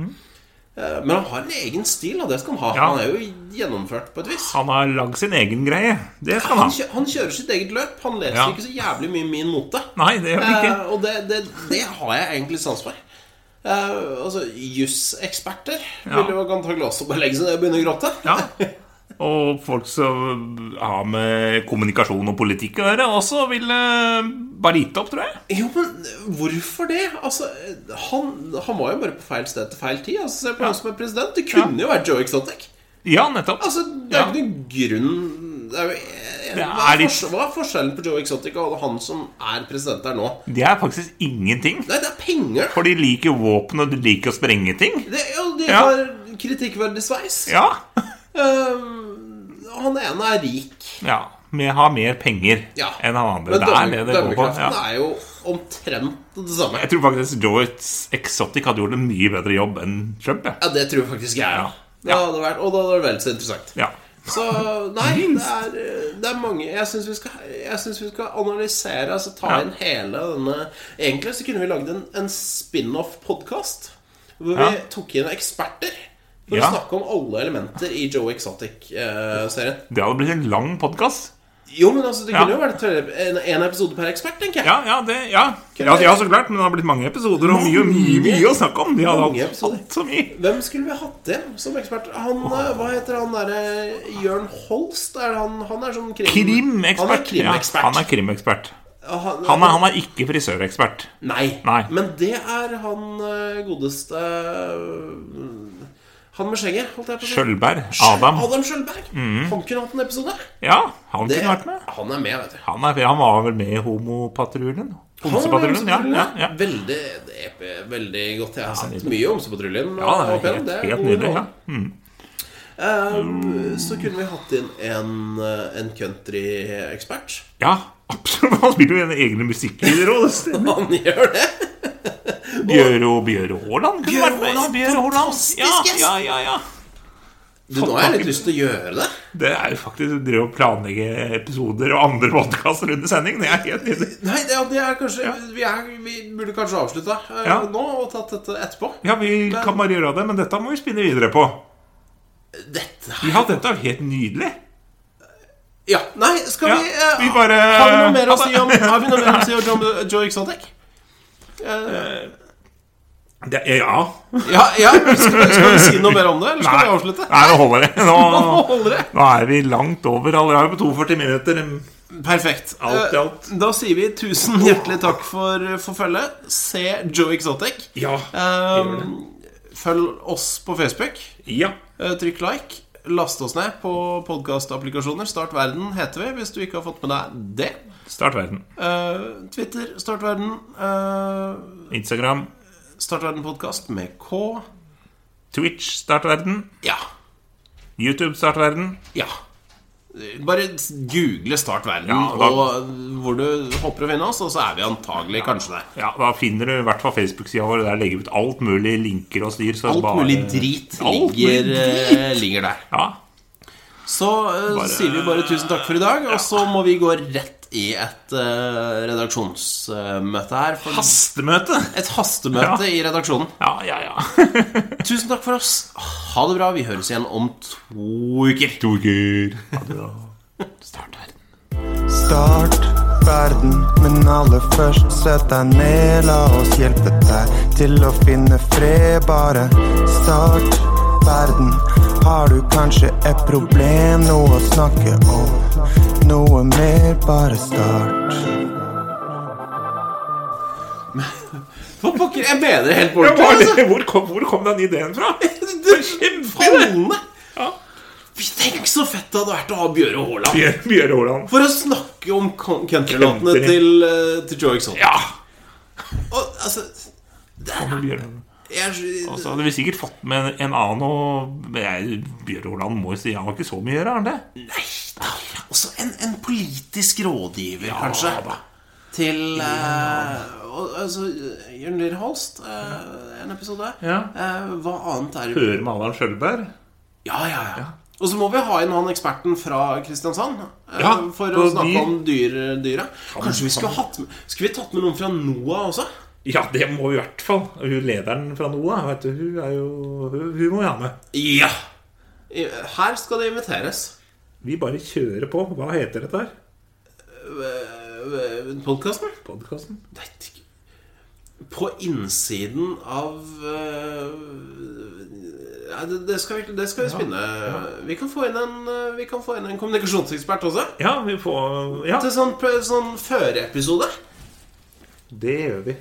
Eh, men han har en egen stil, og det skal han ha. Ja. Han er jo gjennomført på et vis. Han har lagd sin egen greie. Det skal Han, han ha. kjø han kjører sitt eget løp. Han leser Ja. ikke så jævlig mye min mote. Nei, det gjør han ikke. Eh, og det, det, det har jeg egentlig sans for. Eh, altså, Juseksperter Ja. vil jo antagelig også bare legge seg ned og begynne å gråte. Ja. Og folk som har med kommunikasjon og politikk å gjøre, også vil eh, bare gitt opp, tror jeg. Jo, men hvorfor det? Altså, han, han var jo bare på feil sted til feil tid. Altså, Se på han som er president. Det kunne jo vært Joe Exotic. Ja, nettopp. Altså, det er Ja. jo ikke noen grunn det er jo, hva, er er litt- forskjell- hva er forskjellen på Joe Exotic og han som er president der nå? Det er faktisk ingenting. Nei, det er penger. For de liker våpen, og de liker å sprenge ting. Det, ja, de Ja. har kritikkverdig sveis. Ja. Eh, han ene er rik. ja. Men har mer penger Ja. enn han andre. Men Det er det dømme- det går på. dømmekraften Ja. er jo omtrent det samme. Jeg tror faktisk Joyce Exotic hadde gjort en mye bedre jobb enn Trump. jeg. Ja, det tror jeg faktisk jeg Ja. er. Det hadde vært, og da hadde det vært vel så interessant. Ja. Så nei, det er, eh, det er mange Jeg syns vi, skal- jeg synes vi skal analysere, altså ta Ja. inn hele denne Egentlig så kunne vi lagd en, en spin-off-podkast hvor vi Ja. tok inn eksperter for Ja. å snakke om alle elementer i Joe Exotic-serien. Det hadde blitt en lang podkast. jo, men altså, det Ja. kunne jo vært en, en episode per ekspert, tenker jeg. Ja, ja, det, ja. ja, ja, så klart. Men det har blitt mange episoder og mye, mye, mye å snakke om. De Mange hadde hatt episoder. alt så mye. Hvem skulle vi hatt igjen som ekspert? Han, eh, Hva heter han derre Jørn Holst? Er han, han er sånn krim... Krimekspert. Han er krimekspert. Ja, han er krimekspert. Ja, han- Han er, han er ikke frisørekspert. Nei. Nei. Men det er han eh, godeste eh, Han med skjegget, holdt jeg på å si. Skjølberg. Adam. Adam Skjølberg. Han kunne hatt en episode. Ja, han Det- kunne vært med. Han er med, vet du. Han, er, han var vel med i Homopatruljen? Han er med i Homsepatruljen, ja. Homsepatruljen. ja, ja. Veldig, det er veldig godt. Jeg har sett nydelig. mye om Homsepatruljen. Ja, opp det er igjennom. helt, Det er helt god nydelig. underholdning. Ja. Mm. Eh, Så kunne vi hatt inn en, eh, en countryekspert. ja, absolutt. Han spiller jo en egne musikkvideoer òg, det stemmer. Han gjør det. Bjøro Bjøro Haaland kunne Bjøro vært med. Haaland, Bjøro Haaland. Ja, fantastisk gjest. ja, ja, ja. Du, nå har jeg litt lyst til å gjøre det. Det er jo faktisk å drive og planlegge episoder og andre podkaster under sending. Det er helt nydelig. Nei, det, det er kanskje vi, er, vi burde kanskje avslutta eh, Ja. nå og tatt dette etterpå. Ja, vi kan bare gjøre det, men dette må vi spinne videre på. Dette Ja, dette er jo helt nydelig. Ja, nei, skal Ja, vi, eh, vi bare- Altså- Har vi noe mer å Ha det. si om Har vi noe mer å si om John, Joe Exotic? Eh, Det, ja. ja, ja skal, skal vi si noe mer om det, eller skal vi avslutte? Nei, nå holder det. Nå Nå, holder det. nå er vi langt over allerede på 42 minutter. Perfekt. Alt i Eh, alt. Da sier vi tusen hjertelig takk for, for følget. Se Joe Exotic. Ja. Eh, gjør følg oss på Facebook. Ja. Eh, Trykk like. Last oss ned på podkastapplikasjoner. Start verden heter vi, hvis du ikke har fått med deg det. Start verden. Eh, Twitter, Start verden. eh, Instagram. start verden podkast med K. Twitch. Start verden. Ja. YouTube. Start verden. Ja. Bare google Start verden, Ja, da- og hvor du håper å finne oss, og så er vi antagelig kanskje der. Ja, Da finner du i hvert fall Facebook-sida vår. Der legger vi ut alt mulig linker og styr. Så Alt bare- mulig drit Alt mulig ligger, eh, ligger der. Ja. Så eh, Bare- sier vi bare tusen takk for i dag, og så må vi gå rett i et eh, redaksjonsmøte her. For Hastemøte! et hastemøte i redaksjonen. Ja, ja, ja. Tusen takk for oss. Ha det bra. Vi høres igjen om to uker. To uker. Ha det bra. Start verden. Start verden, men aller først sett deg ned. La oss hjelpe deg til å finne fred, bare start verden. Har du kanskje et problem, noe å snakke om? Noe mer, bare start. Hva pokker? Jeg mener det helt Altså, på Ja, hva er ordentlig. det? Hvor kom, hvor kom den ideen fra? Altså. Det er Kjempefallende. Ja. Tenk så fett det hadde vært å ha Bjøre Haaland Bjør- Bjøre Haaland. for å snakke om con- countrylåtene Country. til, eh, til Joe Exotic. Ja! Og, altså, Bjøre Haaland. jeg, Og så Altså, hadde vi sikkert fått med en annen og Men jeg- Bjøre Haaland må jo si Han har ikke så mye å gjøre, har han det? Nei da. Også en, en politisk rådgiver, Ja, kanskje. da. Til eh, og, altså, Jørn Lier Holst, eh, en episode. Ja. Eh, hva annet er det? Høre med Allan Skjølberg? Ja, ja, ja. Og så må vi ha inn han eksperten fra Kristiansand eh, Ja, for å og snakke vi- om dyr, dyret. Kanskje vi skulle hatt med Skulle vi tatt med noen fra NOAH også? Ja, det må vi i hvert fall. Hun lederen fra NOA, vet du, hun er jo Hun, hun må vi ha med. Ja! I- Her skal det inviteres. Vi bare kjører på. Hva heter dette her? Eh, Podkasten? Podkasten? På innsiden av eh, ja, det, det, skal vi, det skal vi spinne. Vi, kan få inn en, eh, vi kan få inn en kommunikasjonsekspert også. Ja, vi får Ja, Til sånn, pr- sånn føreepisode. det gjør vi.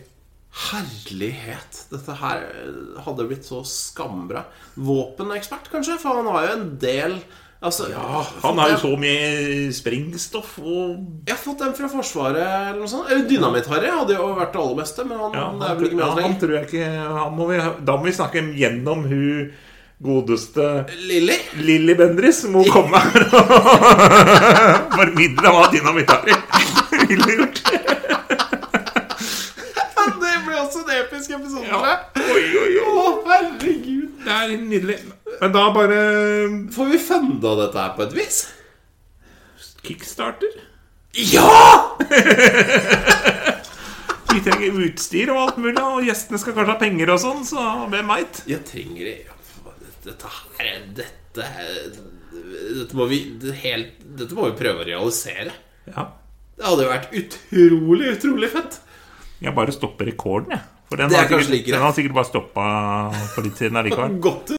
Herlighet. Dette her eh, hadde blitt så skambra. Våpenekspert, kanskje? For han har jo en del altså, Ja, Ah, han har jo så mye sprengstoff og Jeg har fått dem fra Forsvaret eller noe sånt. Eller Dynamitt-Harry hadde jo vært det aller beste, men han Ja, det er han, vel ikke med ja, oss han lenger. tror jeg ikke han må vi, Da må vi snakke gjennom hun godeste Lilly? Lilly Bendriss som må komme her og formidle hva dynamitt er. Ville gjort. Det blir også en episk episode. Ja. tror jeg. Oi, oi, oi. Å, herregud. Det er nydelig. Men da bare Får vi funda dette her på et vis? kickstarter. Ja! Vi trenger utstyr og alt mulig, og gjestene skal kanskje ha penger og sånn, så hvem veit? Jeg trenger det. Dette her er- Dette Dette må vi helt Dette må vi prøve å realisere. Ja. Det hadde jo vært utrolig, utrolig fett. Jeg bare stopper rekorden, jeg. For den Det er har kanskje sikkert, like greit. den har sikkert bare stoppa for litt siden allikevel. Godt